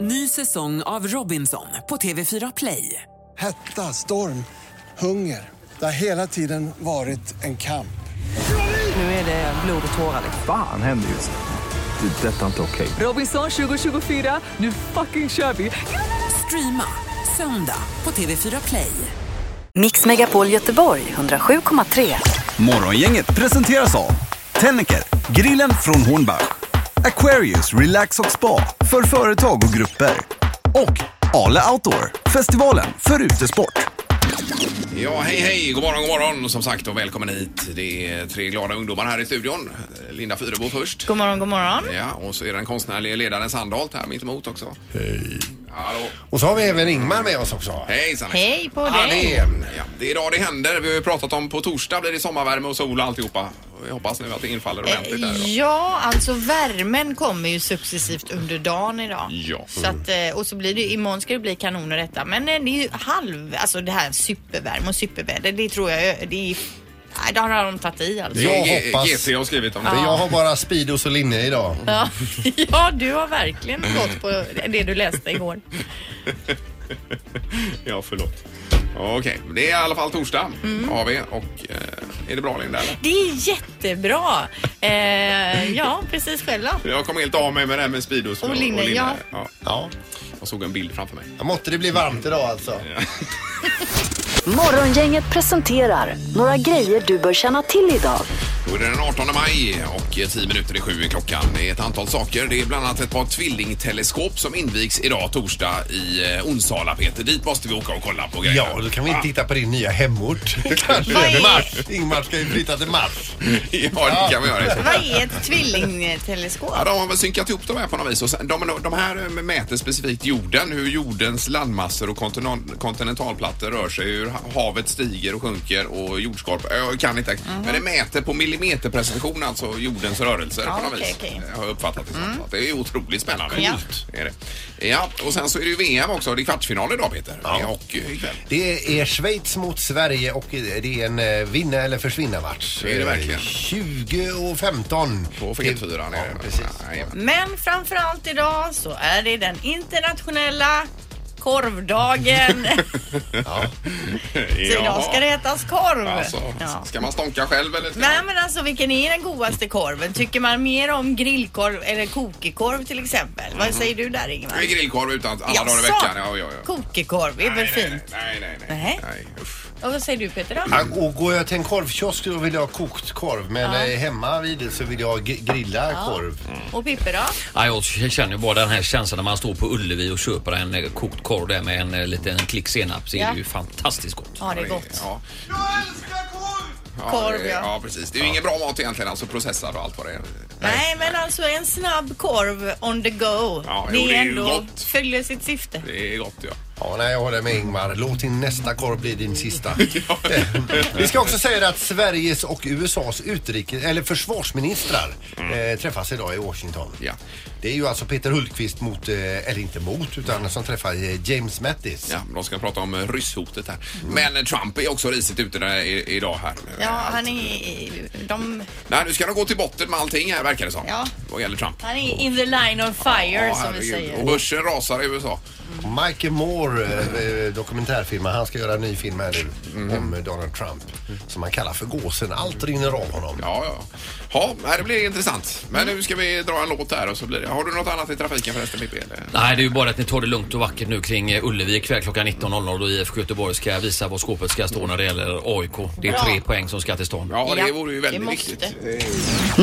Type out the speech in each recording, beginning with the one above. Ny säsong av Robinson på TV4 Play. Hetta, storm, hunger. Det har hela tiden varit en kamp. Nu är det blod och tårar. liksom. Fan händer just nu. Det. är Detta är inte okej. Robinson 2024, nu fucking kör vi! Streama söndag på TV4 Play. Mix Megapol Göteborg 107,3. Morgongänget presenteras av Tennecker, grillen från Hornbach. Aquarius Relax och Spa för företag och grupper. Och Ale Outdoor, festivalen för utesport. Ja, hej hej, god morgon, god morgon som sagt och välkommen hit. Det är tre glada ungdomar här i studion. Linda Fyrebo först. God morgon, god morgon. Ja, och så är den konstnärliga ledaren Sandholt här mitt emot också. Hej. Hallå. Och så har vi även Ingmar med oss också. Hejsan. Hej på Ja, dig. det är- Ja, det är idag det händer. Vi har ju pratat om på torsdag blir det sommarvärme och sol och alltihopa. Jag hoppas nu att det infaller ordentligt där Eh, idag. Ja, alltså värmen kommer ju successivt under dagen idag. Ja. Så att, eh, och så blir det, imorgon ska det bli kanon och detta. Men eh, det är ju halv, alltså det här supervärme och superväder, det tror jag ju- det är, nej, det har de tagit i alltså. Jag G- hoppas- GT har skrivit om det. Men jag har bara Speedos och linne idag. Ja. ja, du har verkligen gått på det du läste igår. Ja, förlåt. Okej, det är i alla fall torsdag Mm. har vi och eh, är det bra Linda? eller? Det är jättebra. Eh, ja, precis själv då. Jag kom helt av mig med det här med Speedos Och linne, ja. ja. Ja. Jag såg en bild framför mig. Måtte det bli varmt idag alltså. Morgongänget presenterar några grejer du bör känna till idag. Då är det den 18 maj och 10 minuter i sju är klockan. Det är ett antal saker. Det är bland annat ett par tvillingteleskop som invigs idag torsdag i eh, Onsala, Peter. Dit måste vi åka och kolla på grejer. Ja, då kan vi titta på din nya hemort. Vad Kanske är- Mars. Ingmar ska ju flytta till Mars. ja, det kan vi göra. Vad är ett tvillingteleskop? Ja, de har väl synkat ihop dem här på något vis. Och sen, de, de här eh, mäter specifikt jorden, hur jordens landmassor och kontinan- kontinentalplattor rör sig, hur ha- havet stiger och sjunker och jordskorp. Jag kan inte, Mhm. men det mäter på millimeterprecision, alltså jordens rörelser Ja, på något okej, vis. okej. Mm. Jag har uppfattat det som. Så att Det är otroligt spännande. Coolt. Är det. Ja, och sen så är det ju VM också. Det är kvartsfinal idag Peter. Ja. Och eh, ikväll. Det är Schweiz mot Sverige och det är en eh, vinna eller försvinna match. Det är det verkligen. 20 och 15. På P4. Ja, precis. Men framförallt idag så är det den internationella korvdagen. så idag ska det ätas korv. Alltså, Ja. Ska man stånka själv eller? Ska Nej men alltså vilken är den godaste korven? Tycker man mer om grillkorv eller kokekorv till exempel? Mhm. Vad säger du där Ingemar? man... Grillkorv utan alla dagar i Jaså? veckan. Ja, ja, ja. Kokekorv är väl Nej, Alltså. nej, fint? Nej, nej, nej. Nej. nej. usch. Och vad säger du Peter då? Ja, Och går jag till en korvkiosk då vill jag ha kokt korv men eh, hemma vid det så vill jag ha g- grilla korv. Och Pippe då? Ja, jag känner ju bara den här känslan när man står på Ullevi och köper en eh, kokt korv där med en eh, liten klick senap så är Ja. det ju fantastiskt gott. Ja det är gott. Ja. Korv, det- ja. ja. precis. Det är ju ingen bra mat egentligen, alltså processad och allt vad det är. Nej men alltså en snabb korv on the go. Ja, jo, det det är är ju ändå gott. följer sitt syfte. Det är gott, ja. Ja, nej, jag håller med Ingmar. Låt din nästa korv bli din sista. Vi ska också säga det att Sveriges och USAs utrikes eller försvarsministrar eh, träffas idag i Washington. Mm. Ja. Det är ju alltså Peter Hultqvist mot, eh, eller inte mot, utan som träffar eh, James Mattis. ja. De ska prata om eh, rysshotet här. Men eh, Trump är också risigt ute där i, idag här. Mm. Ja, han är... De, Nej, nu ska de gå till botten med allting här verkar det som. Ja. Vad gäller Trump. han är in the line of fire Ja, som vi herregud. Oh, säger. Och börsen rasar i USA. Michael Moore, eh, eh, dokumentärfilmare, han ska göra en ny film här nu Mhm. om eh, Donald Trump. Som han kallar för gåsen. Allt rinner av honom. Ja, ja. Ja, nej, det blir intressant. Men Mm. nu ska vi dra en låt här och så blir det. Har du något annat i trafiken förresten, Pippi? eller? Nej, det är ju bara att ni tar det lugnt och vackert nu kring eh, Ullevi ikväll klockan 19.00 då IFK Göteborg ska visa var skåpet ska stå när det gäller AIK. Det är Bra. tre poäng som ska till stånd. Ja, det Ja, vore ju det väldigt måste. viktigt.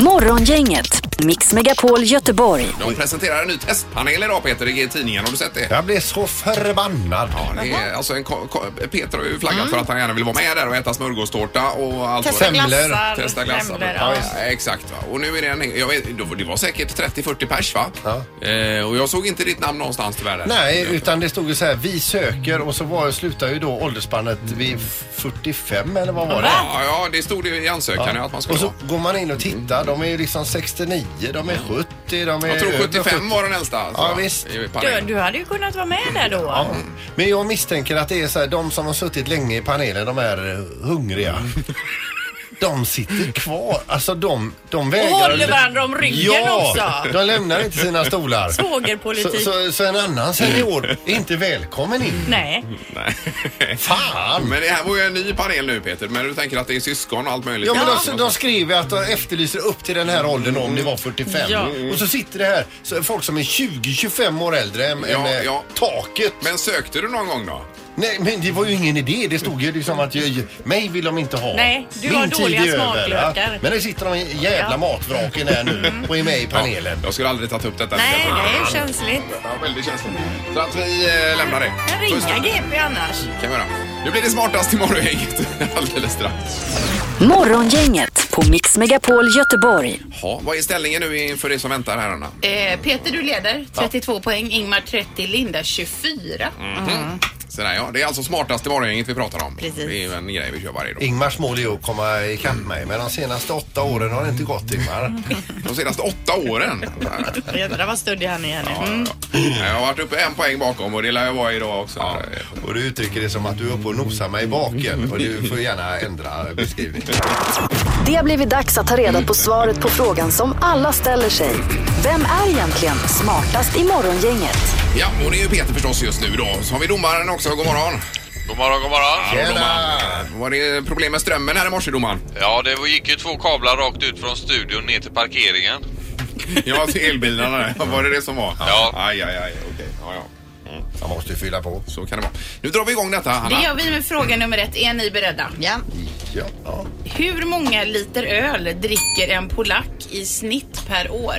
Morgongänget, Mix Megapol Göteborg. De presenterar en ny testpanel idag, Peter, i tidningen. Har du sett det? Jag blir så förbannad. Ja, det är, alltså en, ko- ko- Peter har ju flaggat för att han gärna vill vara med där och äta smörgåstårta och allt Mm. Testa vad det är. Semlor. glassar. Testa glassar. semlor, Ja, ja. visst. Exakt. Va? Och nu är det en, jag vet, då- det var säkert 30-40 pers va? Ja. Eh, och jag såg inte ditt namn någonstans tyvärr. där. Nej, utan det stod ju så här, vi söker och så var, slutade ju då åldersspannet vid 45 eller vad var det? Ja, ja, det stod ju i ansökan ja. att man skulle Och så vara. går man in och tittar, de är ju liksom 69, de är 70, de är... Mm. Jag tror över 75 var den äldsta. alltså, eh, Ja, va? visst. I Du, panelen. du hade ju kunnat vara med där då. Ja. Men Mm. jag misstänker att det är så här, de som har suttit länge i panelen, de är eh, hungriga. De sitter kvar. Alltså de, de vägrar... Och håller varandra om ryggen ja, också. de lämnar inte sina stolar. Svågerpolitik. Så, så, så en annan senior är inte välkommen in. Nej. Nej. Fan! Men det här var ju en ny panel nu Peter, men du tänker att det är syskon och allt möjligt? Ja, men de, de skriver att de efterlyser upp till den här åldern om det var 45. Ja. Och så sitter det här så folk som är 20-25 år äldre än, än Ja, eh, ja. taket. Men sökte du någon gång då? Nej, men det var ju ingen idé. Det stod ju liksom att jag, mig vill de inte ha. Nej, du har Min tid dåliga är över, smaklökar. ja. Men det sitter de i jävla Ja. Mm. matvraken här nu och är med i panelen. Jag skulle aldrig tagit upp detta. Nej, Ja, det är ju känsligt. Ja, väldigt känsligt. Så att vi eh, lämnar det. Men Puss. ringa GP annars. kan vi göra. Nu blir det smartast i morgongänget alldeles strax. Morgongänget på Mix Megapol Göteborg. Ja, vad är ställningen nu inför det som väntar här Anna? Eh, Peter, du leder. 32 poäng. Ingmar 30, Linda 24. Mhm. Sådär, ja. Det är alltså smartast i morgongänget vi pratar om. Precis. Det är ju en grej vi kör varje dag. Ingmars mål är att komma ikapp mig, men de senaste åtta åren har det inte gått Mm. Ingmar. De senaste åtta åren. Jädrar vad stöddig han är nu. Mm. Ja, ja, ja. Jag har varit uppe en poäng bakom och det lär jag vara idag också. Och du uttrycker det som att du är uppe och nosar mig i baken och du får gärna ändra beskrivning. Det har blivit dags att ta reda på svaret på frågan som alla ställer sig. Vem är egentligen smartast i morgongänget? Ja, och det är ju Peter förstås just nu då. Så har vi domaren också. God morgon. God morgon, god morgon. Tjena! Var det problem med strömmen här i morse domaren? Ja, det gick ju två kablar rakt ut från studion ner till parkeringen. Ja, till elbilarna där. Var det det som var? Ja. Aj, aj, aj. Okej. Ja, ja. Mm. Jag måste ju fylla på. Så kan det vara. Nu drar vi igång detta, Hanna. Det gör vi med fråga nummer ett. Är ni beredda? Ja. Ja, ja. Hur många liter öl dricker en polack i snitt per år?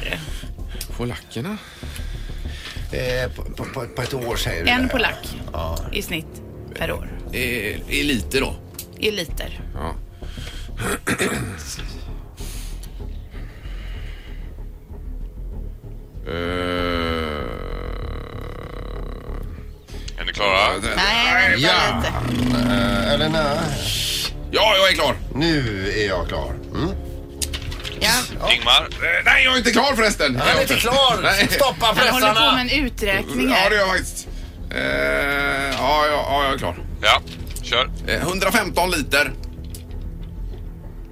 Polackerna? Eh, på, på- på, på ett år säger du En det. polack i snitt per år. I, I lite då. I liter. Ja. Är ni klara? Nej, vänta Ja. lite. Eh, eller nej. Ja, jag är klar. Nu är jag klar. Mm. Ingmar? Eh, Nej, jag är inte klar förresten. Han är inte Nej. klar! Stoppa Han håller på med pressarna! en uträkning Ja, det här. gör jag faktiskt. Eh, ja, ja, ja, jag är klar. Ja, kör. Eh, 115 liter.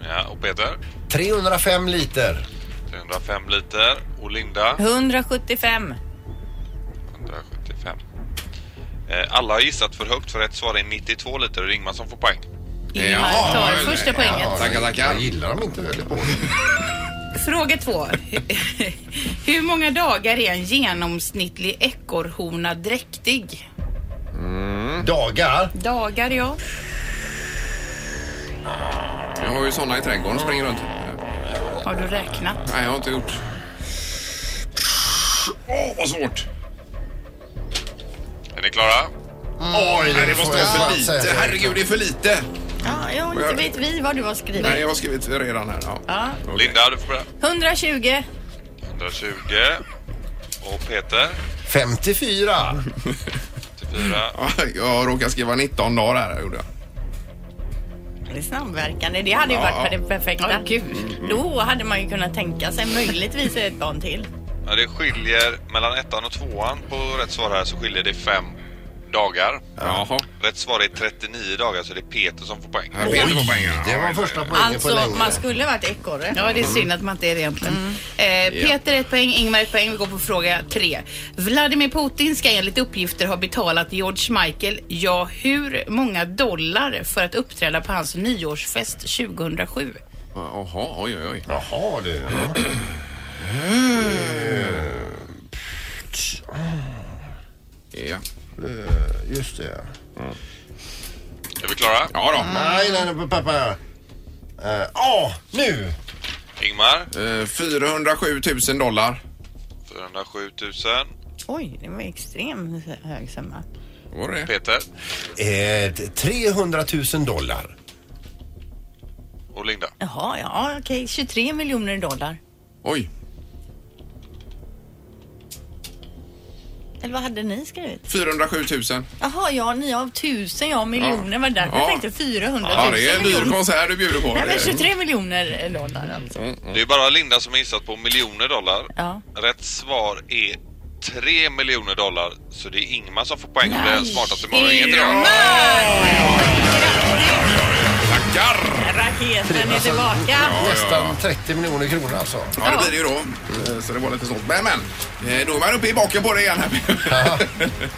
Ja, och Peter? 305 liter. 305 liter. Och Linda? 175. 175. Eh, Alla har gissat för högt för rätt svar är 92 liter och det är Ingmar som får poäng. Ingmar tar ja, första ja, poängen. Tackar, tackar. Jag gillar dem inte väldigt hårt. Fråga två. Hur många dagar är en genomsnittlig ekorrhona dräktig? Dagar. Dagar, ja. Jag har ju såna i trädgården som springer runt. Eh, Har du räknat? Nej, jag har inte gjort. Åh, vad svårt! Är ni klara? Oj, Nej, det får måste jag vara för fan säga. lite. Herregud, det är för lite. Ja, ja, inte vet vi vad du har skrivit. Nej, jag har skrivit redan här. Ja. Okej. Linda, du får börja. 120. 120. Och Peter? 54. 84. Ja, Jag råkade skriva 19 dagar här, gjorde jag. Det är samverkande. Det hade ju Ja. varit det perfekta. Ja, gud. Då hade man ju kunnat tänka sig möjligtvis ett barn till. Ja, det skiljer mellan ettan och tvåan på rätt svar här så skiljer det fem dagar. Jaha. Rätt svar är 39 dagar så det är Peter som får poäng. Här Peter på pengarna. Det var första poängen på Alltså, länge. man skulle varit ekorre. Mm. Ja, Mm. det är synd att man inte är det egentligen. Eh, Peter ett poäng, Ingmar ett poäng. Vi går på fråga tre. Vladimir Putin ska enligt uppgifter ha betalat George Michael, ja, hur många dollar för att uppträda på hans nyårsfest 2007? Jaha, oj, oj, oj. Jaha du. Ja, Eh, Just det. Är vi klara? ja då. Nej, nej, nej, pappa. Eh, Ja, nu! Ingmar? Eh, 407 000 dollar. 407 000. Oj, det var extremt hög summa. Var det det? Peter Eh, 300 000 dollar. och Linda. Jaha, ja okej. 23 miljoner dollar. Oj. Eller vad hade ni skrivit? 407 000. Jaha, ja, ni har tusen, jag har miljoner. Var det därför Ja. jag tänkte 400 000 Ja, det är en dyr miljoner? konsert du bjuder på. Nej, men 23 miljoner dollar alltså. Mm. Det är bara Linda som har gissat på miljoner dollar. Ja. Rätt svar är 3 miljoner dollar. Så det är Ingmar som får poäng. för Det är den smartaste morgonen. Tackar! Tryggheten är tillbaka. Nästan 30 miljoner kronor alltså. Ja, det blir det ju då. Eh, Så det var lite snålt. Men, men. eh, Då är man uppe i baken på det igen. Här.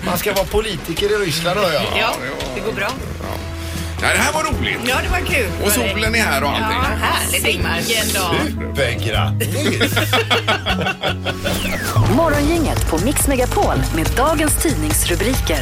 Man ska vara politiker i Ryssland hör jag. Ja, det går bra. Nej, det här var roligt. Ja, det var kul. Och solen är här och allting. Ja, härligt Ingmar. Vilken dag. Supergrattis! Morgongänget på Mix Megapol med dagens tidningsrubriker.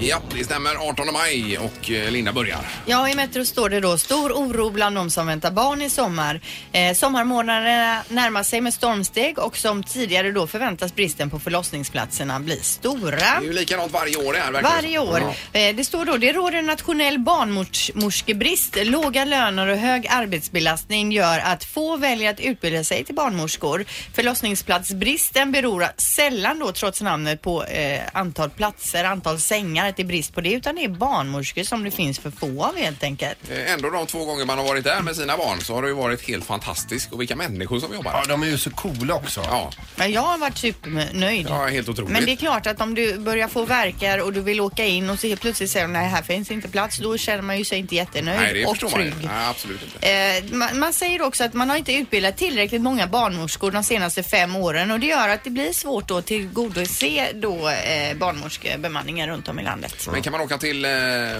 Ja, det stämmer. 18 maj och eh, Linda börjar. Ja, i Metro står det då stor oro bland de som väntar barn i sommar. Eh, sommarmånaderna närmar sig med stormsteg och som tidigare då förväntas bristen på förlossningsplatserna bli stora. Det är ju likadant varje år det här. verkligen. Varje år. Eh, Det står då, det råder en nationell barnmorskebrist. Låga löner och hög arbetsbelastning gör att få väljer att utbilda sig till barnmorskor. Förlossningsplatsbristen beror sällan då trots namnet på eh, antal platser, antal sängar, att det är brist på det, utan det är barnmorskor som det finns för få av helt enkelt. Eh, Ändå de två gånger man har varit där med sina barn så har det ju varit helt fantastiskt. Och vilka människor som jobbar. Ja, de är ju så coola också. Ja, Men jag har varit supernöjd. ja helt otroligt. Men det är klart att om du börjar få verkar och du vill åka in och så helt plötsligt säger de nej här finns inte plats, då känner man ju sig inte jättenöjd Nej, det och förstår man ju. trygg. Nej, absolut inte. Eh, man, man säger också att man har inte utbildat tillräckligt många barnmorskor de senaste fem åren och det gör att det blir svårt då att tillgodose då eh, barnmorskebemanningen runt om i landet. Men kan man åka till eh,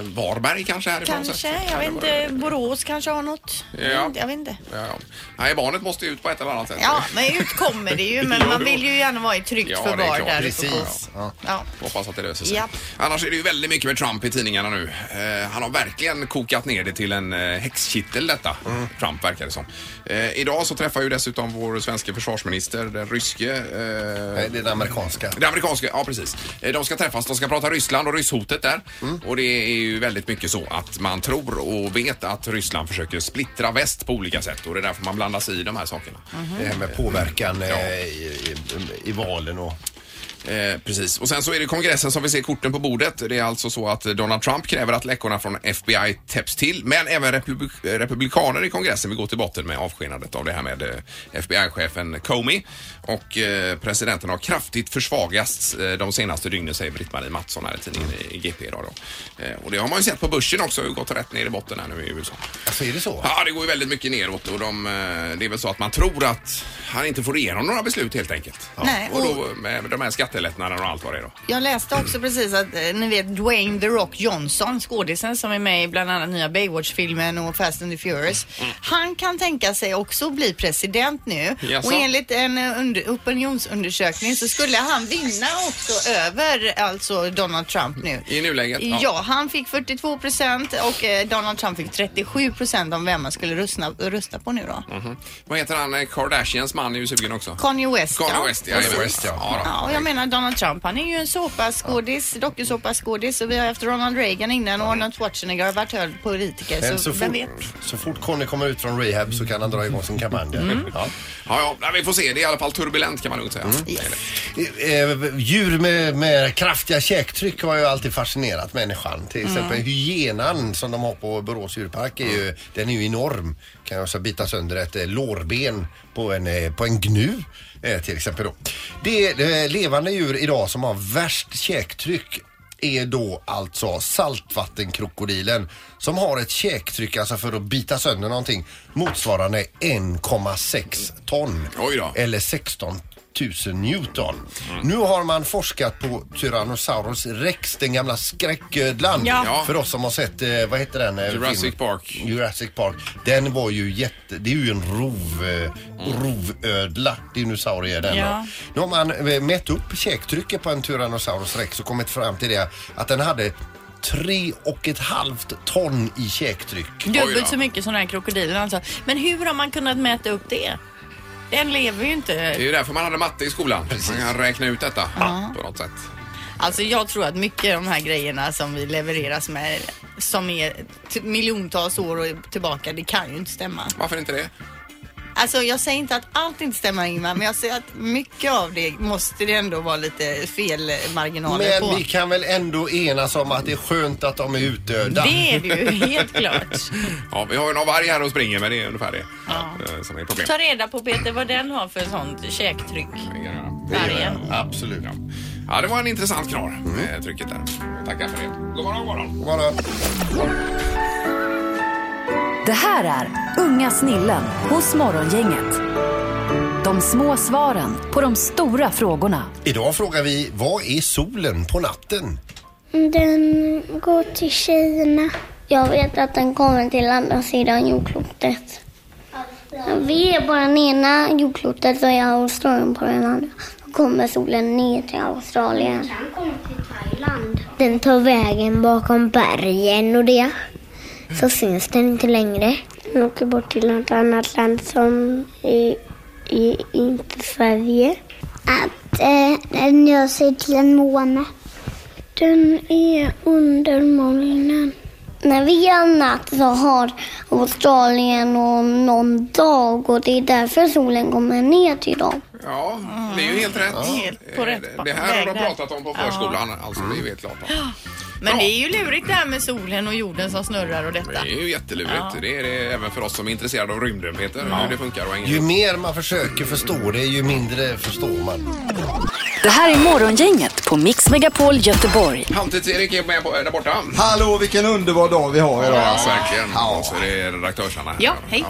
Varberg kanske härifrån? Kanske, sen? jag Kan vet det vara- inte, Borås kanske har något? Mm, Ja. Jag vet inte. Ja, ja. Nej, barnet måste ju ut på ett eller annat sätt. Ja, men ut kommer det ju, men Ja, man jo. vill ju gärna vara i tryggt Ja, det är förvar klart. där ute på... Precis. Ja. Ja. Hoppas att det löser sig. Japp. Annars är det ju väldigt mycket med Trump i tidningarna nu. Eh, han har verkligen kokat ner det till en eh, häxkittel detta. Trump verkar det som. Eh, idag så träffar ju dessutom vår svenska försvarsminister, den ryske... Eh, Nej, det är det amerikanska. det amerikanska, ja precis. Eh, De ska träffas, de ska prata Ryssland och rysshotet där. Och det är ju väldigt mycket så att man tror och vet att Ryssland försöker splittra väst på olika sätt och det är därför man blandar sig i de här sakerna. Det här med påverkan eh, i, i, i valen och... Eh, precis. Och sen så är det kongressen som vi ser korten på bordet. Det är alltså så att Donald Trump kräver att läckorna från FBI täpps till. Men även republik eh, republikaner i kongressen vill gå till botten med avskedandet av det här med eh, FBI-chefen Comey. Och eh, presidenten har kraftigt försvagats eh, de senaste dygnen säger Britt-Marie Mattsson här i tidningen i- i GP idag då. Eh, och det har man ju sett på börsen också, har ju gått rätt ner i botten här nu i USA. Alltså är det så? Ja, det går ju väldigt mycket neråt och de, eh, det är väl så att man tror att han inte får igenom några beslut helt enkelt. Nej, och då med de här skattelättnaderna och allt vad det är då. Jag läste också precis att eh, ni vet Dwayne The Rock Johnson, skådisen som är med i bland annat nya Baywatch-filmen och Fast and the Furious. Han kan tänka sig också bli president nu. Jaså? Och enligt en eh, under, opinionsundersökning så skulle han vinna också över alltså Donald Trump nu. I nuläget? Ja, han fick 42 procent och eh, Donald Trump fick 37 procent om vem man skulle rösta, rösta på nu då. Mhm. Vad heter han? eh, Kardashians man är ju sugen också. Kanye West. Kanye West, ja. Precis. Kanye West, ja. Ja, då. Ja, och jag menar Donald Trump, han är ju en såpaskådis, dokusåpaskådis och vi har haft Ronald Reagan innan och Arnold Schwarzenegger har varit hög politiker, Men så Eh, så, vem fort, vet? så fort Conny kommer ut från rehab så kan han dra igång sin kampanj. Mm. Ja. Ja, ja. Nej, vi får se. Det är i alla fall turbulent kan man lugnt säga. Det är det. Eh, Djur med, med kraftiga käktryck har ju alltid fascinerat människan. Till Mm. exempel hyenan som de har på Borås djurpark är Mm. ju, den är ju enorm. Kan ju alltså bita sönder ett eh, lårben på en, eh, på en gnu eh, till exempel då. Det eh, levande djur idag som har värst käktryck är då alltså saltvattenkrokodilen som har ett käktryck, alltså för att bita sönder någonting, motsvarande 1,6 ton. Oj då. Eller 16 000 Newton. Nu har man forskat på Tyrannosaurus rex, den gamla skräcködlan. Ja. För oss som har sett, eh, vad heter den? eh, Jurassic filmen? Park. Jurassic Park. Den var ju jätte, det är ju en rov, eh, Mm. rovödla, dinosaurie den. Ja. Nu har man eh, mätt upp käktrycket på en Tyrannosaurus rex och kommit fram till det att den hade tre och ett halvt ton i käktryck. Oj då. Dubbelt så mycket som den här krokodilen alltså. Men hur har man kunnat mäta upp det? Den lever ju Det är inte. ju därför man hade matte i skolan. Man kan räkna ut detta på något sätt. Alltså jag tror att mycket av de här grejerna som vi levereras med som är t- miljontals år och tillbaka, det kan ju inte stämma. Varför inte det? Alltså jag säger inte att allt inte stämmer Ingmar, men jag säger att mycket av det måste det ändå vara lite felmarginaler på. Men vi kan väl ändå enas om att det är skönt att de är utdöda. Det är det ju, helt klart. Ja, vi har ju någon varg här och springer men det är ungefär det eh, som är problemet. Ta reda på Peter vad den har för sånt käktryck. Mm. Vargen. Absolut. Ja, det var en intressant knorr Mm. med trycket där. Tackar för det. God morgon, god morgon. Bara... Det här är Unga snillen hos Morgongänget. De små svaren på de stora frågorna. Idag frågar vi, vad är solen på natten? Den går till Kina. Jag vet att den kommer till andra sidan jordklotet. Vi är på den ena jordklotet och jag har Australien på den andra. Då kommer solen ner till Australien. Den tar vägen bakom bergen och det. Så syns den inte längre. Den åker bort till något annat land som är, är inte Sverige. Att eh, den gör sig till en måne. Den är under molnen. När vi gör natt så har Australien och någon dag och det är därför solen kommer ner till dem. Ja, Mm. det är ju helt rätt. Helt på Eh, rätt det här väg har de där. pratat om på förskolan. Alltså, det är ju helt klart. Men det är ju lurigt det här med solen och jorden som snurrar och detta. Det är ju jättelurigt. Ja. Det är det även för oss som är intresserade av rymden, Peter. Hur det funkar och hänger Ju mer man försöker förstå det, ju mindre förstår man. Det här är Morgongänget på Mix Megapol Göteborg. Halvtids-Erik är med på, eh, där borta. Hallå, vilken underbar dag vi har idag. Ja, alltså. verkligen. Och så är det redaktörsarna här. Ja, hej.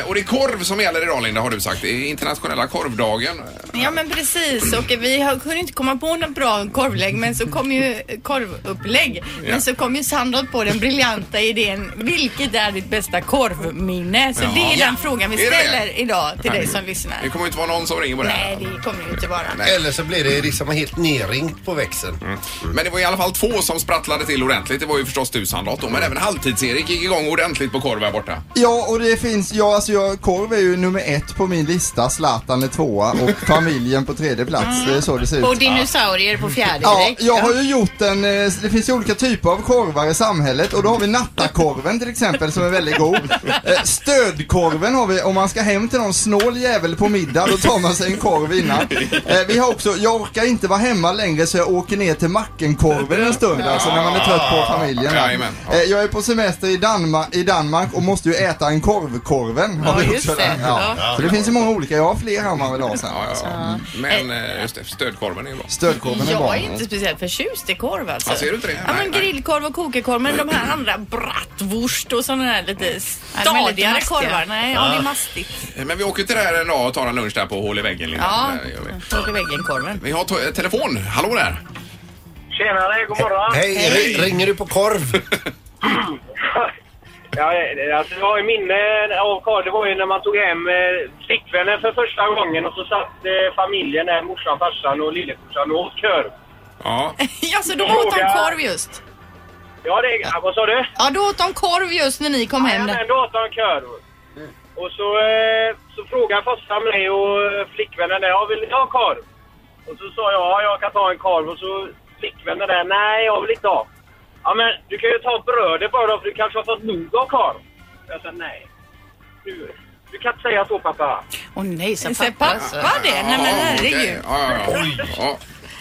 Eh, Och det är korv som gäller idag, Linda, har du sagt. Det är internationella korvdagen. Eh, Ja men precis och vi har, kunde inte komma på något bra korvlägg men så kom ju korvupplägg. Ja. Men så kom ju Sandholt på den briljanta idén. Vilket är ditt bästa korvminne? Så det är Ja. den frågan vi Är det det? ställer idag till dig som Det lyssnar. kommer ju inte vara någon som ringer på det här. Nej det kommer det inte vara. Eller så blir det liksom helt nerringt på växeln. Mm. Men det var i alla fall två som sprattlade till ordentligt. Det var ju förstås du Sandholt då, men även Halvtids-Erik gick igång ordentligt på korv här borta. Ja, och det finns, ja alltså jag, korv är ju nummer ett på min lista, Zlatan är tvåa och familjen på tredje plats. Det är så det ser ut. Och dinosaurier på fjärde Ja, direkt. jag har ju gjort en, eh, det finns ju olika typer av korvar i samhället och då har vi nattakorven till exempel som är väldigt god. Eh, Stödkorven har vi, om man ska hem till någon snål jävel på middag då tar man sig en korv innan. Eh, Vi har också, jag orkar inte vara hemma längre så jag åker ner till Mackenkorven en stund alltså när man är trött på familjen. där. Jajamän. Eh, Jag är på semester i Danmark, i Danmark och måste ju äta en korvkorven. Har Ja, vi just också det. där. Ja. Ja. Så det finns ju många olika, jag har fler här man vill ha sen. Ja, ja. Men eh, just det, stödkorven är ju bra. Stödkorven är bra. Jag är inte speciellt förtjust i korv alltså. Ja, ser du inte det? Ja Nej, men grillkorv och kokekorv men de här andra bratwurst och sådana här lite de är lite stadigare mastiga. korvar. Nej, Mm. ja. Ja. det är mastigt. Men vi åker till det här en dag och tar en lunch där på Hål i väggen. Linda. Ja, Det gör vi. håll i väggen-korven. Vi har to- telefon. Hallå där! Tjenare, god morgon. Hej, ri- ringer du på korv? Ja, det- alltså, jag har ju minne av Karl, det var ju när man tog hem eh, flickvännen för första gången och så satt eh, familjen där, morsan, farsan och lillebrorsan och åt korv. Ja. Ja, så då åt de korv just. Ja, det, ja, vad sa du? Ja, då åt de korv just när ni kom hem. Ja, där. men då åt de korv. Och så, eh, så frågade farsan mig och eh, flickvännen där, ja, vill ni ha korv? Och så sa jag, ja, jag kan ta en korv. Och så flickvännen där, nej, jag vill inte ha. Ja, men du kan ju ta brödet bara då, för du kanske har fått nog av korv. Jag sa, nej. Du, du kan inte säga så, pappa. Åh nej, så Så pappa. pappa det? Nej men herregud. Ja,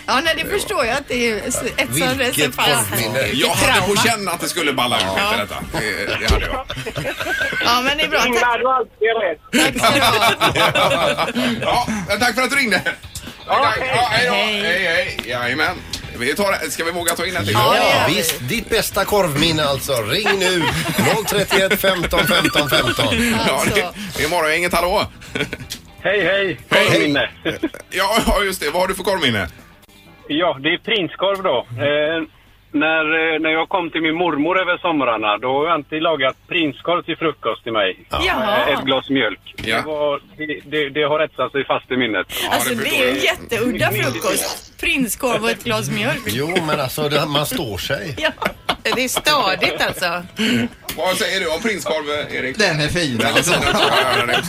Ja, nej det förstår jag att det är ett sånt Vilket separat. korvminne. Jag hade på känn att det skulle balla ut efter detta. Det, det hade jag. Ja, men det är bra. Ingmar, du har alltid rätt. Ja, tack för att du ringde. Tack. Ja, hej då. Hej, hej. Jajamän. Vi tar, ska vi våga ta in en till? Ja, visst. Ditt bästa korvminne alltså. Ring nu. 031 15 15 15. Ja, Alltså. det, det är morgongänget, hallå! Hej, hej! Korvminne! Ja, ja, just det. Vad har du för korvminne? Ja, det är prinskorv då. Eh, när, eh, när jag kom till min mormor över somrarna, då har jag alltid lagat prinskorv till frukost till mig. Ja. Eh, Ett glas mjölk. Ja. Det, var, det, det, det har etsat sig fast i minnet. Alltså det är ju en jätteudda frukost. Prinskorv och ett glas mjölk. Jo, men alltså det, man står sig. Ja, det är stadigt alltså. Vad säger du om prinskorv, Erik? Den är fin alltså. Ja, den är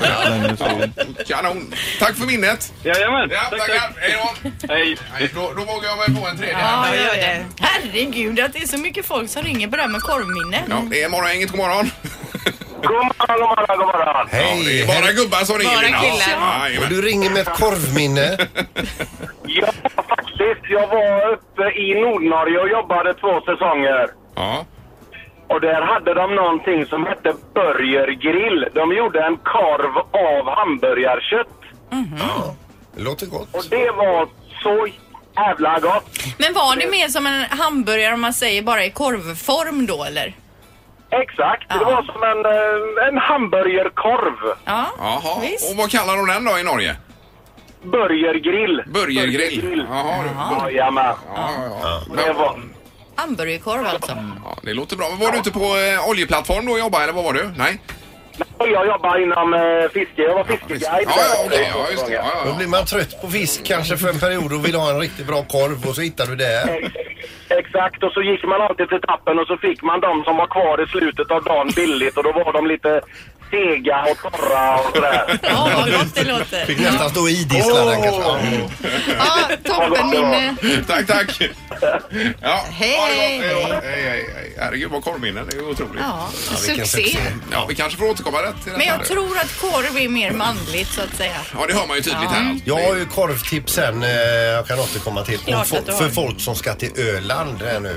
också- Kanon! Tack för minnet! Jajamän! Ja, tackar! Hej då! Hej! Då, då vågar jag mig på en tredje. Ja, gör det. Herregud att det är så mycket folk som ringer på det här med korvminne. Ja, det är morgongänget, god morgon! God morgon, god morgon, god morgon! Hej! Ja, det är bara gubbar som ringer. Bara Linda. killar. Ja, jajamän. Och du ringer med ett korvminne. Faktiskt, jag var uppe i Nordnorge och jobbade två säsonger. Ja. Och där hade de någonting som hette Börjergrill. De gjorde en korv av hamburgarkött. Ja, det låter gott. Och det var så jävla gott. Men var det mer som en hamburgare om man säger bara i korvform då eller? Exakt, det var som en, eh, en hamburgerkorv. Ja, Jaha, och vad kallar de den då i Norge? Burgergrill. Burgergrill. Jaha, Jaha. Jajamän. Det var Hamburgerkorv alltså. Ja, det låter bra. Men var du inte på eh, oljeplattform då och jobbade eller vad var du? Nej? Jag jobbar inom eh, fiske. Jag var fiskeguide. Ja, ja, okej. Ja, just det. Ja, ja, Då blir man trött på fisk kanske för en period och vill ha en riktigt bra korv och så hittar du det. Eh, Exakt, och så gick man alltid till tappen och så fick man de som var kvar i slutet av dagen billigt och då var de lite sega och torra och sådär. Ja, vad gott det låter. Fick nästan stå i disslaren kanske. Ja, toppen minne. Tack, tack. Ja, Hej, ha det gott. Hej, hej, hej, hej, hej. Herregud, vad korvminnen. Det är ju otroligt. Ja, vilken succé. succé. Ja, vi kanske får återkomma rätt till Men detta jag nu. tror att korv är mer manligt så att säga. Ja, det hör man ju tydligt här. Jag har ju korvtips sen eh, jag kan återkomma till. Klart Och fo- att du har. Mhm. för folk som ska till Öland här nu.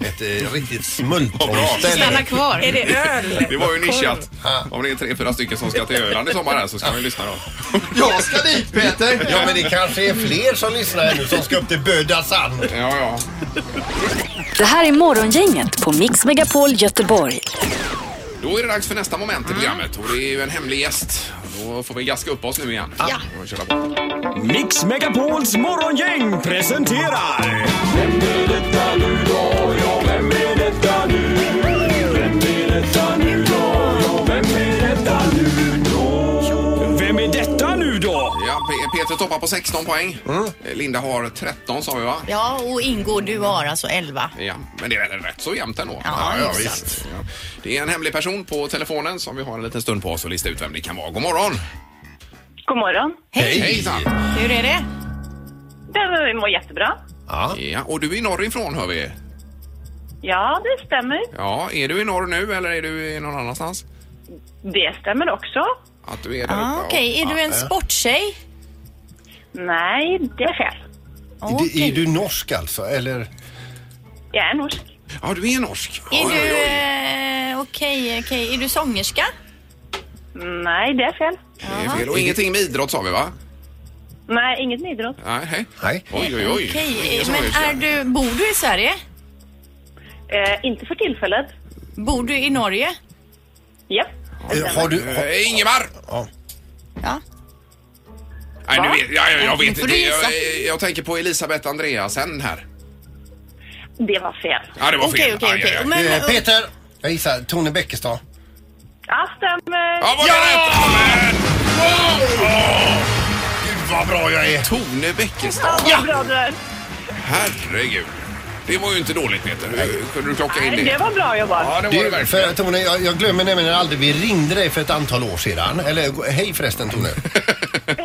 Ett eh, riktigt Stanna smultronställe. kvar. Är det öl? Det var ju nischat. Om det är tre, fyra stycken som ska till Öland i sommar här så ska man ju lyssna då. Jag ska dit Peter! Ja men det kanske är fler som lyssnar här nu som ska upp till Böda sand. Ja, ja. Det här är Morgongänget på Mix Megapol Göteborg. Då är det dags för nästa moment Mm. i programmet och det är ju en hemlig gäst. Då får vi gaska upp oss nu igen. Ja. Mix Megapols morgongäng presenterar... Vem är detta nu då? Ja, vem är detta nu? Vem är detta nu då? Ja, vem är detta nu då? Vem är detta nu då? Ja, Pe- Peter toppar på 16 poäng. Eh, Linda har 13 sa vi va? Ja, och Ingo, du har alltså 11. Ja, men det är väl rätt så jämnt ändå. Ja, hyfsat. Ja. Det är en hemlig person på telefonen som vi har en liten stund på oss att lista ut vem det kan vara. God morgon! God morgon. Hej! Hejsan! Hur är det? Den mår jättebra. Ja. och du är norrifrån hör vi. Ja, det stämmer. Ja, är du i norr nu eller är du i någon annanstans? Det stämmer också. Att du är där Ah, uppe, Okej, ja. är du en Ja. sporttjej? Nej, det är fel. Är du norsk alltså eller? Jag är norsk. Ja, du är norsk. Är du... eh, Okej, okej. Är du sångerska? Nej, det är fel. Det är fel. Och ingenting med idrott sa vi va? Nej, inget med idrott. Nej, hej. Nej. Oj, oj, oj. Okej, Ingen eh, som men vet. är du... Bor du i Sverige? Eh, inte för tillfället. Bor du i Norge? Japp. Eh, Har du... Har... Eh, Ingemar! Ja. Ja. Nej, nu Va? vet, jag, jag, jag Nu vet får du inte. Jag, gissa. jag, jag tänker på Elisabeth Andreasen här. Det var fel. Ja, det var Okej, fel. okej, Aj, okej. aj, aj. Men- Eh, Peter! Jag gissar Tone Bäckestad. Ja, stämmer. Ja, vad rätt! Amen! Åh! Gud vad bra jag är! Tone Ja, Bäckestad. vad bra du är. Herregud. Det var ju inte dåligt Peter. Hur kunde du klocka in Nej, det det? var bra jobbat. Ja, det var det Du, verkligen. för, Tone, jag, jag glömmer nämligen aldrig, vi ringde dig för ett antal år sedan. Eller hej förresten Tone.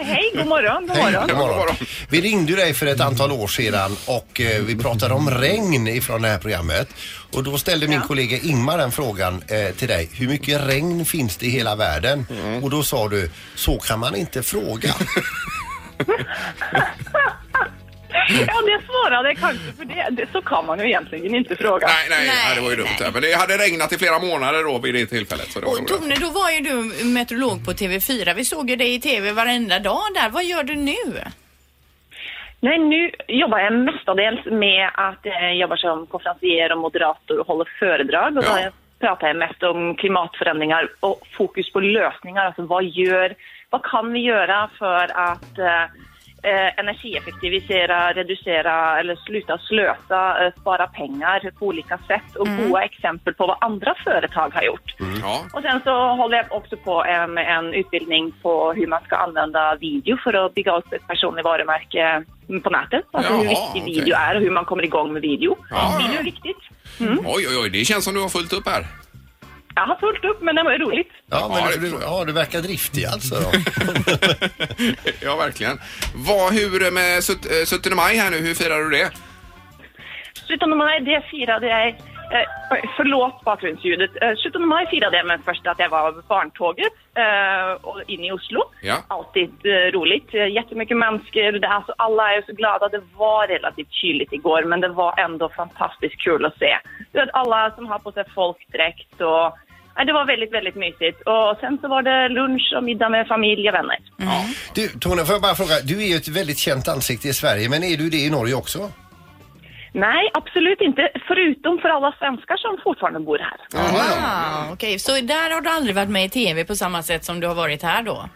Hej, god morgon. God Hej, morgon. god morgon. Vi ringde ju dig för ett antal år sedan och eh, vi pratade om regn ifrån det här programmet. Och då ställde min kollega Ingmar den frågan eh, till dig. Hur mycket regn finns det i hela världen? Och då sa du, så kan man inte fråga. Ja, det svarade jag kanske för det. det. Så kan man ju egentligen inte fråga. Nej, nej, nej, det var ju dumt. Men det hade regnat i flera månader då vid det tillfället. Så det var Och roligt. Tone, då var ju du meteorolog på TV4. Vi såg ju dig i TV varenda dag där. Vad gör du nu? Nej, nu jobbar jag mestadels med att jag jobbar som konferencier och moderator och håller föredrag. Och då Ja. har jag- pratar jag mest om klimatförändringar och fokus på lösningar. Alltså vad, gör, vad kan vi göra för att eh, eh, energieffektivisera, reducera eller sluta slösa, eh, spara pengar på olika sätt och goda exempel på vad andra företag har gjort. Mm. Ja. Och sen så håller jag också på eh, med en utbildning på hur man ska använda video för att bygga upp ett personligt varumärke på nätet. Alltså hur Jaha, viktig okej. video är och hur man kommer igång med video. Ja. Video är viktigt. Mm. Oj, oj, oj. Det känns som du har fullt upp här. Jag har fullt upp men det var roligt. Ja, men Ja, det du, tror jag. ja, du verkar driftig alltså. Då. ja, verkligen. Vad, hur är med sutt- eh, 17 maj här nu? Hur firar du det? Slutet maj det firade jag eh, Förlåt bakgrundsljudet. Eh, 17 maj firade jag med först att jag var på barntåget eh, och in i Oslo. Ja. Alltid eh, roligt. Eh, Jättemycket människor. Det, alltså, alla är så glada. Det var relativt kyligt igår men det var ändå fantastiskt kul att se. Du vet, alla som har på sig folkdräkt och Nej, det var väldigt, väldigt mysigt. Och sen så var det lunch och middag med familj och vänner. Du, Tone, får jag bara fråga, du är ju ett väldigt känt ansikte i Sverige, men är du det i Norge också? Nej, absolut inte. Förutom för alla svenskar som fortfarande bor här. Ah, Okej, så där har du aldrig varit med i TV på samma sätt som du har varit här då?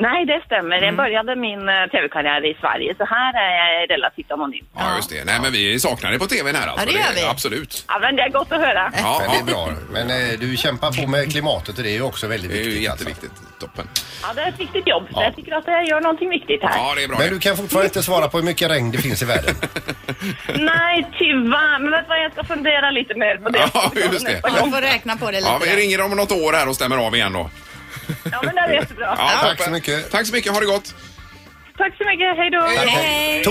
Nej, det stämmer. Mm. Jag började min eh, tv-karriär i Sverige, så här är jag relativt anonym. Ja, just det. Nej, men vi saknar det på tvn här alltså. Ja, det gör vi. Absolut. Ja, men det är gott att höra. Ja, Men det är bra. Men eh, du kämpar på med klimatet och det är ju också väldigt viktigt. Det är ju jätteviktigt. Toppen. Ja, det är ett viktigt jobb. Så jag tycker att jag gör någonting viktigt här. alltså. Men du kan fortfarande inte svara på hur mycket regn det finns i världen. Nej, tyvärr. Men vet du vad, jag ska fundera lite mer på det. Ja, just det. Ja, du får räkna på det lite. Ja, vi ringer om något år här och stämmer av igen då. Ja, men det är jättebra. tack så mycket. Tack så mycket. Ha det gott. Tack så mycket. Hej då.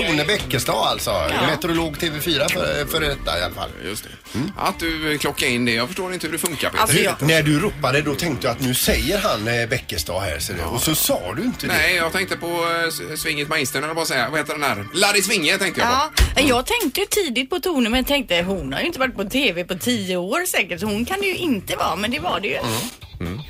Tone Bäckestad alltså. Meteorolog TV4 för, för detta i alla fall. Just det. Mm. Att du klockar in det. Jag förstår inte hur det funkar Alltså- Peter. Alltså, Vet- När du ropade då tänkte jag att nu säger han eh, Bäckestad här ser du. Och så sa du inte det. Nej, jag tänkte på eh, s- Svinget Magistern eller vad säger Vad heter den här? Larry Svinge tänkte jag på. Ja, jag tänkte ju tidigt på Tone men tänkte hon har ju inte varit på TV på tio år säkert så hon kan det ju inte vara men det var det ju. Mm.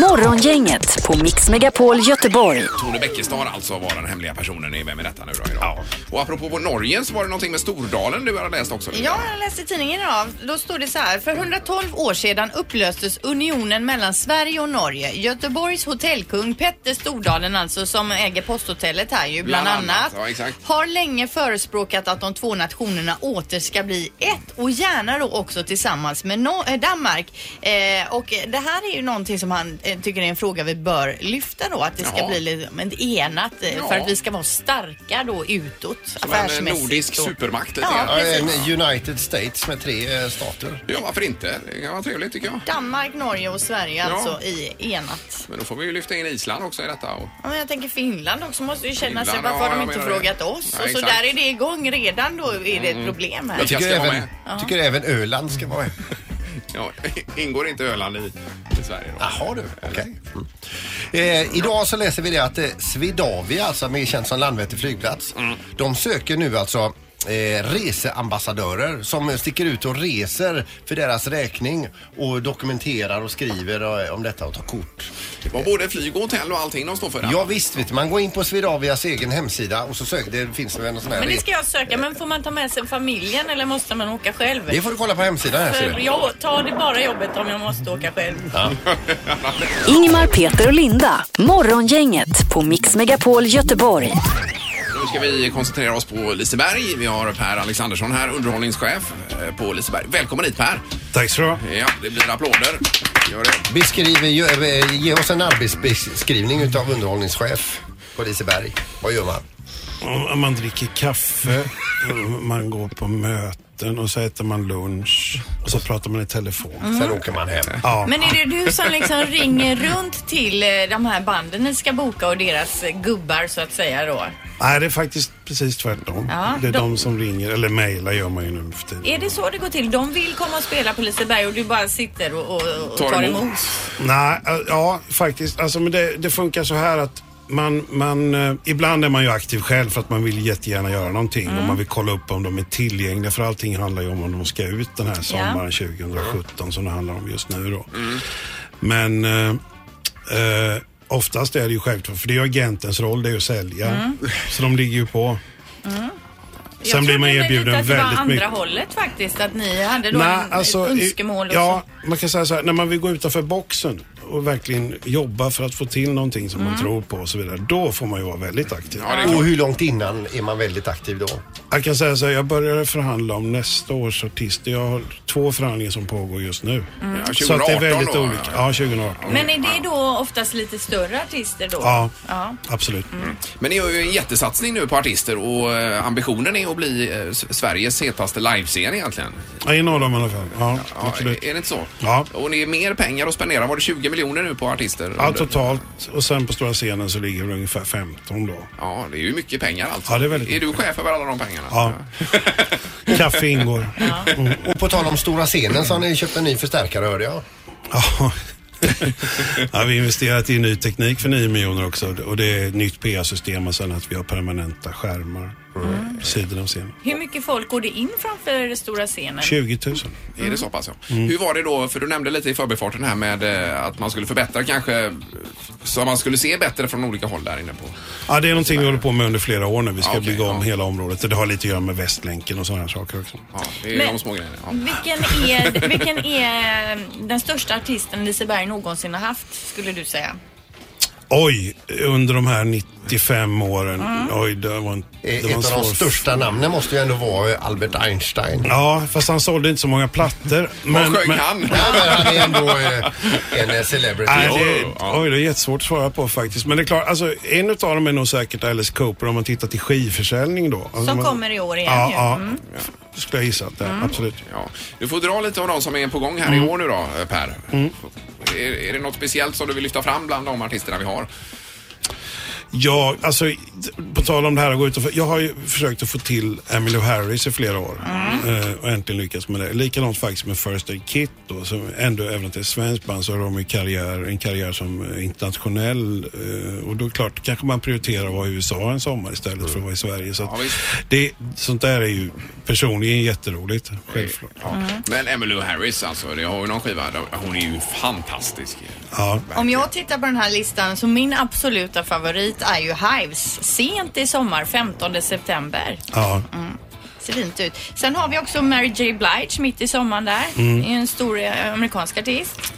Morgongänget på Mix Megapol Göteborg. Tone Bäckestad alltså var den hemliga personen i Vem är detta nu då? Idag. Och apropå på Norge så var det någonting med Stordalen du hade läst också. Ja, jag läste i tidningen idag. Då står det så här. För 112 år sedan upplöstes unionen mellan Sverige och Norge. Göteborgs hotellkung Petter Stordalen alltså, som äger posthotellet här ju bland, annat. Ja, exakt. har länge förespråkat att de två nationerna åter ska bli ett och gärna då också tillsammans med no- eh, Danmark. Eh, och det här är ju någonting som han eh, tycker är en fråga vi bör lyfta då, att det ska Ja. bli liksom ett enat eh, Ja. för att vi ska vara starka då utåt Som en eh, nordisk då. supermakt. lite Ja, grann. precis. en eh, United States med tre eh, stater. Ja, varför inte? Det kan vara trevligt tycker jag. Danmark, Norge och Sverige Ja. alltså i enat. Men då får vi ju lyfta in Island också i detta. Och... Ja, men jag tänker Finland också måste ju känna sig, Finland, varför ja, har de jag inte menar det. frågat oss? Ja, och så exakt. Mm. där är det igång redan då är det ett problem här. Jag tycker, även, Ja. tycker även Öland ska vara med. Ja, ingår inte Öland i, i Sverige då? Jaha du, okej. Eh, idag så läser vi det att eh, Swedavia, alltså mer känt som Landvetter flygplats, de söker nu alltså Eh, reseambassadörer som sticker ut och reser för deras räkning och dokumenterar och skriver eh, om detta och tar kort. Det var både flyg och hotell och allting de står för. Ja visst, vet du, man går in på Swedavias egen hemsida och så söker, det finns väl en sån här Men det re- ska jag söka. Men får man ta med sig familjen eller måste man åka själv? Det får du kolla på hemsidan här ser För du. jag tar det bara jobbet om jag måste åka själv. Ingmar, Peter och Linda. Morgongänget på Mix Megapol Göteborg. Nu ska vi koncentrera oss på Liseberg. Vi har Per Alexandersson här, underhållningschef eh, på Liseberg. Välkommen hit Per! Tack så du ha. Ja, det blir applåder. Gör det. Beskriv, ge, eh, ge oss en arbetsbeskrivning utav underhållningschef på Liseberg. Vad gör man? Om Man dricker kaffe, man går på möten och så äter man lunch och så pratar man i telefon. Mm. Sen åker man hem. Ja. Men är det du som liksom ringer runt till eh, de här banden ni ska boka och deras eh, gubbar så att säga då? Nej, det är faktiskt precis tvärtom. Ja, det är de- de... som ringer, eller mejlar gör man ju nu för tiden. Är det så det går till? De vill komma och spela på Liseberg och du bara sitter och, och, och tar emot? Nej, äh, ja faktiskt. Alltså, men det, det funkar så här att man, man, eh, ibland är man ju aktiv själv för att man vill jättegärna göra någonting och man vill kolla upp om de är tillgängliga för allting handlar ju om om de ska ut den här sommaren 2017 som det handlar om just nu då. Men eh, eh, oftast är det ju självklart, för det är ju agentens roll, det är ju att sälja. Mm. Så de ligger ju på. Mm. Sen blir man erbjuden Jag trodde lite att det väldigt var andra mycket. hållet faktiskt, att ni hade då Nej, en, alltså, ett önskemål och ja, man kan säga så här, när man vill gå utanför boxen och verkligen jobba för att få till någonting som man Mm. tror på och så vidare, då får man ju vara väldigt aktiv. och hur långt innan är man väldigt aktiv då? Jag kan säga så här, jag började förhandla om nästa års artist. Jag har två förhandlingar som pågår just nu. Mm. Ja, så att det är 2018 väldigt då, olika. Ja, 2018. så. Men är det då oftast lite större artister då? Ja. ja. Absolut. Men ni gör ju en jättesatsning nu på artister och eh, ambitionen är att bli eh, S- Sveriges hetaste livescen egentligen. Ja, I norr i alla fall. Ja, absolut. Är det inte så? Ja. Och ni är mer pengar att spendera. Var det 20 miljoner nu på artister? Ja, totalt. Och sen på stora scenen så ligger det ungefär 15 då. Ja, det är ju mycket pengar alltså. Ja, det är väldigt Är du chef över alla de pengarna? Ja. Kaffe ingår. Och på tal om stora scenen så har ni köpt en ny förstärkare hörde jag. Eh, Ja, vi har investerat i ny teknik för 9 miljoner också och det är ett nytt PA-system och sen att vi har permanenta skärmar. Sidan av scenen. Hur mycket folk går det in framför stora scenen? 20 000. Är det så pass ja. Mm. Hur var det då, för du nämnde lite i förbifarten här med eh, att man skulle förbättra kanske, så man skulle se bättre från olika håll där inne på. Ja, det är någonting vi håller på med under flera år nu. Vi ska bygga om hela området. Det har lite att göra med Västlänken och sådana här saker också. Ja, det är Men- de små grejerna. Ja. Vilken är, vilken är den största artisten Liseberg någonsin har haft, skulle du säga? Oj, under de här 95 åren. Mm. Oj, det var en, det Ett var en av svår de största namnen måste ju ändå vara eh, Albert Einstein. Ja, fast han sålde inte så många plattor. Vad sjöng han? Ja, men han är ändå, eh, en, eh, celebrity. Nej, Jo, det, oj, det är jättesvårt att svara på faktiskt. Men det är klart, alltså, en av dem är nog säkert Alice Cooper om man tittar till skivförsäljning då. Alltså, Som man, kommer i år igen Ja, ju. ja. Mm. Skulle jag gissa att det är, Mm. absolut. Ja. Du får dra lite av de som är på gång här Mm. i år nu då, eh, Per. Är, är det något speciellt som du vill lyfta fram bland de artisterna vi har? Ja, alltså på tal om det här att gå ut och... Jag har ju försökt att få till Emily Harris i flera år eh, och äntligen lyckats med det. Likadant faktiskt med First Aid Kit då, som ändå, även om det är ett svenskt band, så har de ju karriär, en karriär som eh, internationell eh, och då är det klart, kanske man prioriterar att vara i USA en sommar istället för att vara i Sverige. Så att det, sånt där är ju personligen jätteroligt, självklart. Ja. Men Emmylou Harris alltså, det har ju någon skiva. där- Hon är ju fantastisk. Ja. Om jag tittar på den här listan så min absoluta favorit är ju Hives. Sent i sommar, 15 september. Ja. Ser fint ut. Sen har vi också Mary J Blige mitt i sommaren där. Mm. Det är En stor eh, amerikansk artist.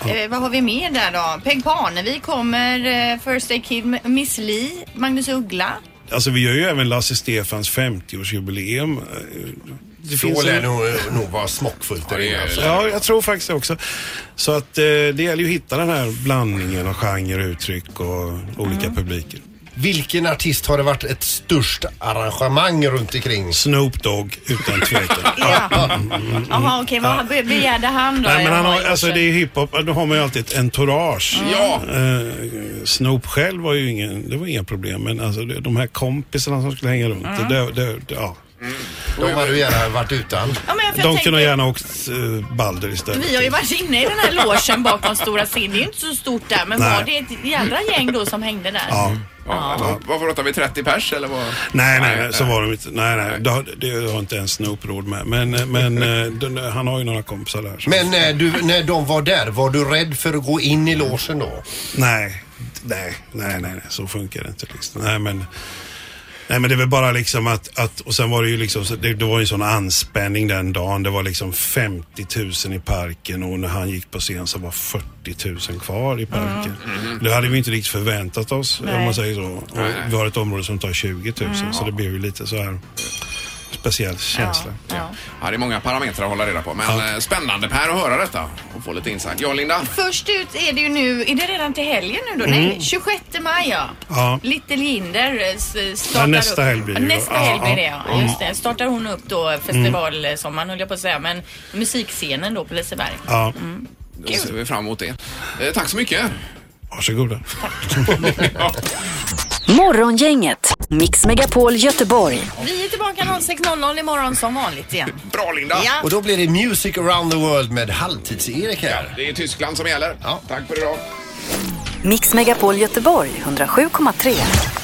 Ja. Eh, vad har vi mer där då? Peg Parnevik kommer, eh, First Day Kid, M- Miss Li, Magnus Uggla. Alltså vi gör ju även Lasse Stefans 50-årsjubileum. eh, Det Då finns lär en- nog, eh, nog vara smockfullt där inne. Alltså. Ja, jag tror faktiskt det också. Så att eh, det gäller ju att hitta den här blandningen av genre, uttryck och olika Mm. publiker. Vilken artist har det varit ett störst arrangemang runt omkring? Snoop Dogg, utan tvekan. Jaha, okej. vad be- begärde han då? Nej, men han har, Ja, alltså det är ju hiphop, då har man ju alltid ett entourage. Ja. Mm. Eh, Snoop själv var ju ingen, det var inga problem, men alltså det- de här kompisarna som skulle hänga runt, Mm. det, det, det, ja. De hade du gärna varit utan. Ja, men jag- för jag De tänker- kunde gärna ha åkt eh, Balder istället. Vi har ju varit inne i den här logen bakom Stora scenen. Det är ju inte så stort där, men Nej. var det ett jädra gäng då som hängde där? Ja. Ja. Vad- Vad pratar vi, 30 pers eller vad? Nej, nej, nej, så var de inte. Nej, nej, det har, det har inte ens Snoop råd med. Men, men eh, den, han har ju några kompisar där. så- Men eh, när, du, när de var där, var du rädd för att gå in i logen då? Nej, nej, nej, nej, nej, så funkar det inte. Liksom. Nej, men, nej, men det är väl bara liksom att, att och sen var det ju liksom, så- det, det var ju en sån anspänning den dagen. Det var liksom 50 000 i parken och när han gick på scen så var 40 000 kvar i parken. Mm-hmm. Det hade vi inte riktigt förväntat oss, om Nej. man säger så. Och Nej. vi har ett område som tar 20 000, Mm. så det blev ju lite så här speciell känsla. Ja. Ja, det är många parametrar att hålla reda på. Men eh, spännande Per att höra detta och få lite insight. Ja, Linda? Först ut är det ju nu, är det redan till helgen nu då? Mm. Nej, 26 maj ja. Ja. Little Jinder eh, s- startar Ja, nästa upp. helg blir det ju då. Nästa Ja, helg blir det ja. ja. Mm. Just det. Startar hon upp då festivalsommaren höll jag på att säga. Men musikscenen då på Liseberg. Ja. Då ser vi fram emot det. Eh, tack så mycket. Varsågoda. Morgongänget, Mix Megapol Göteborg. Vi är tillbaka 06.00 imorgon som vanligt igen. Bra Linda! Ja. Och då blir det Music around the world med Halvtids-Erik här. Det är Tyskland som gäller. Tack för idag. Mix Megapol Göteborg 107,3.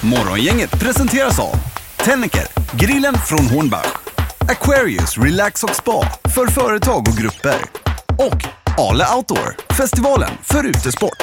Morgongänget presenteras av Tennecker, grillen från Hornbach, Aquarius Relax och Spa för företag och grupper och Ale Outdoor, festivalen för utesport.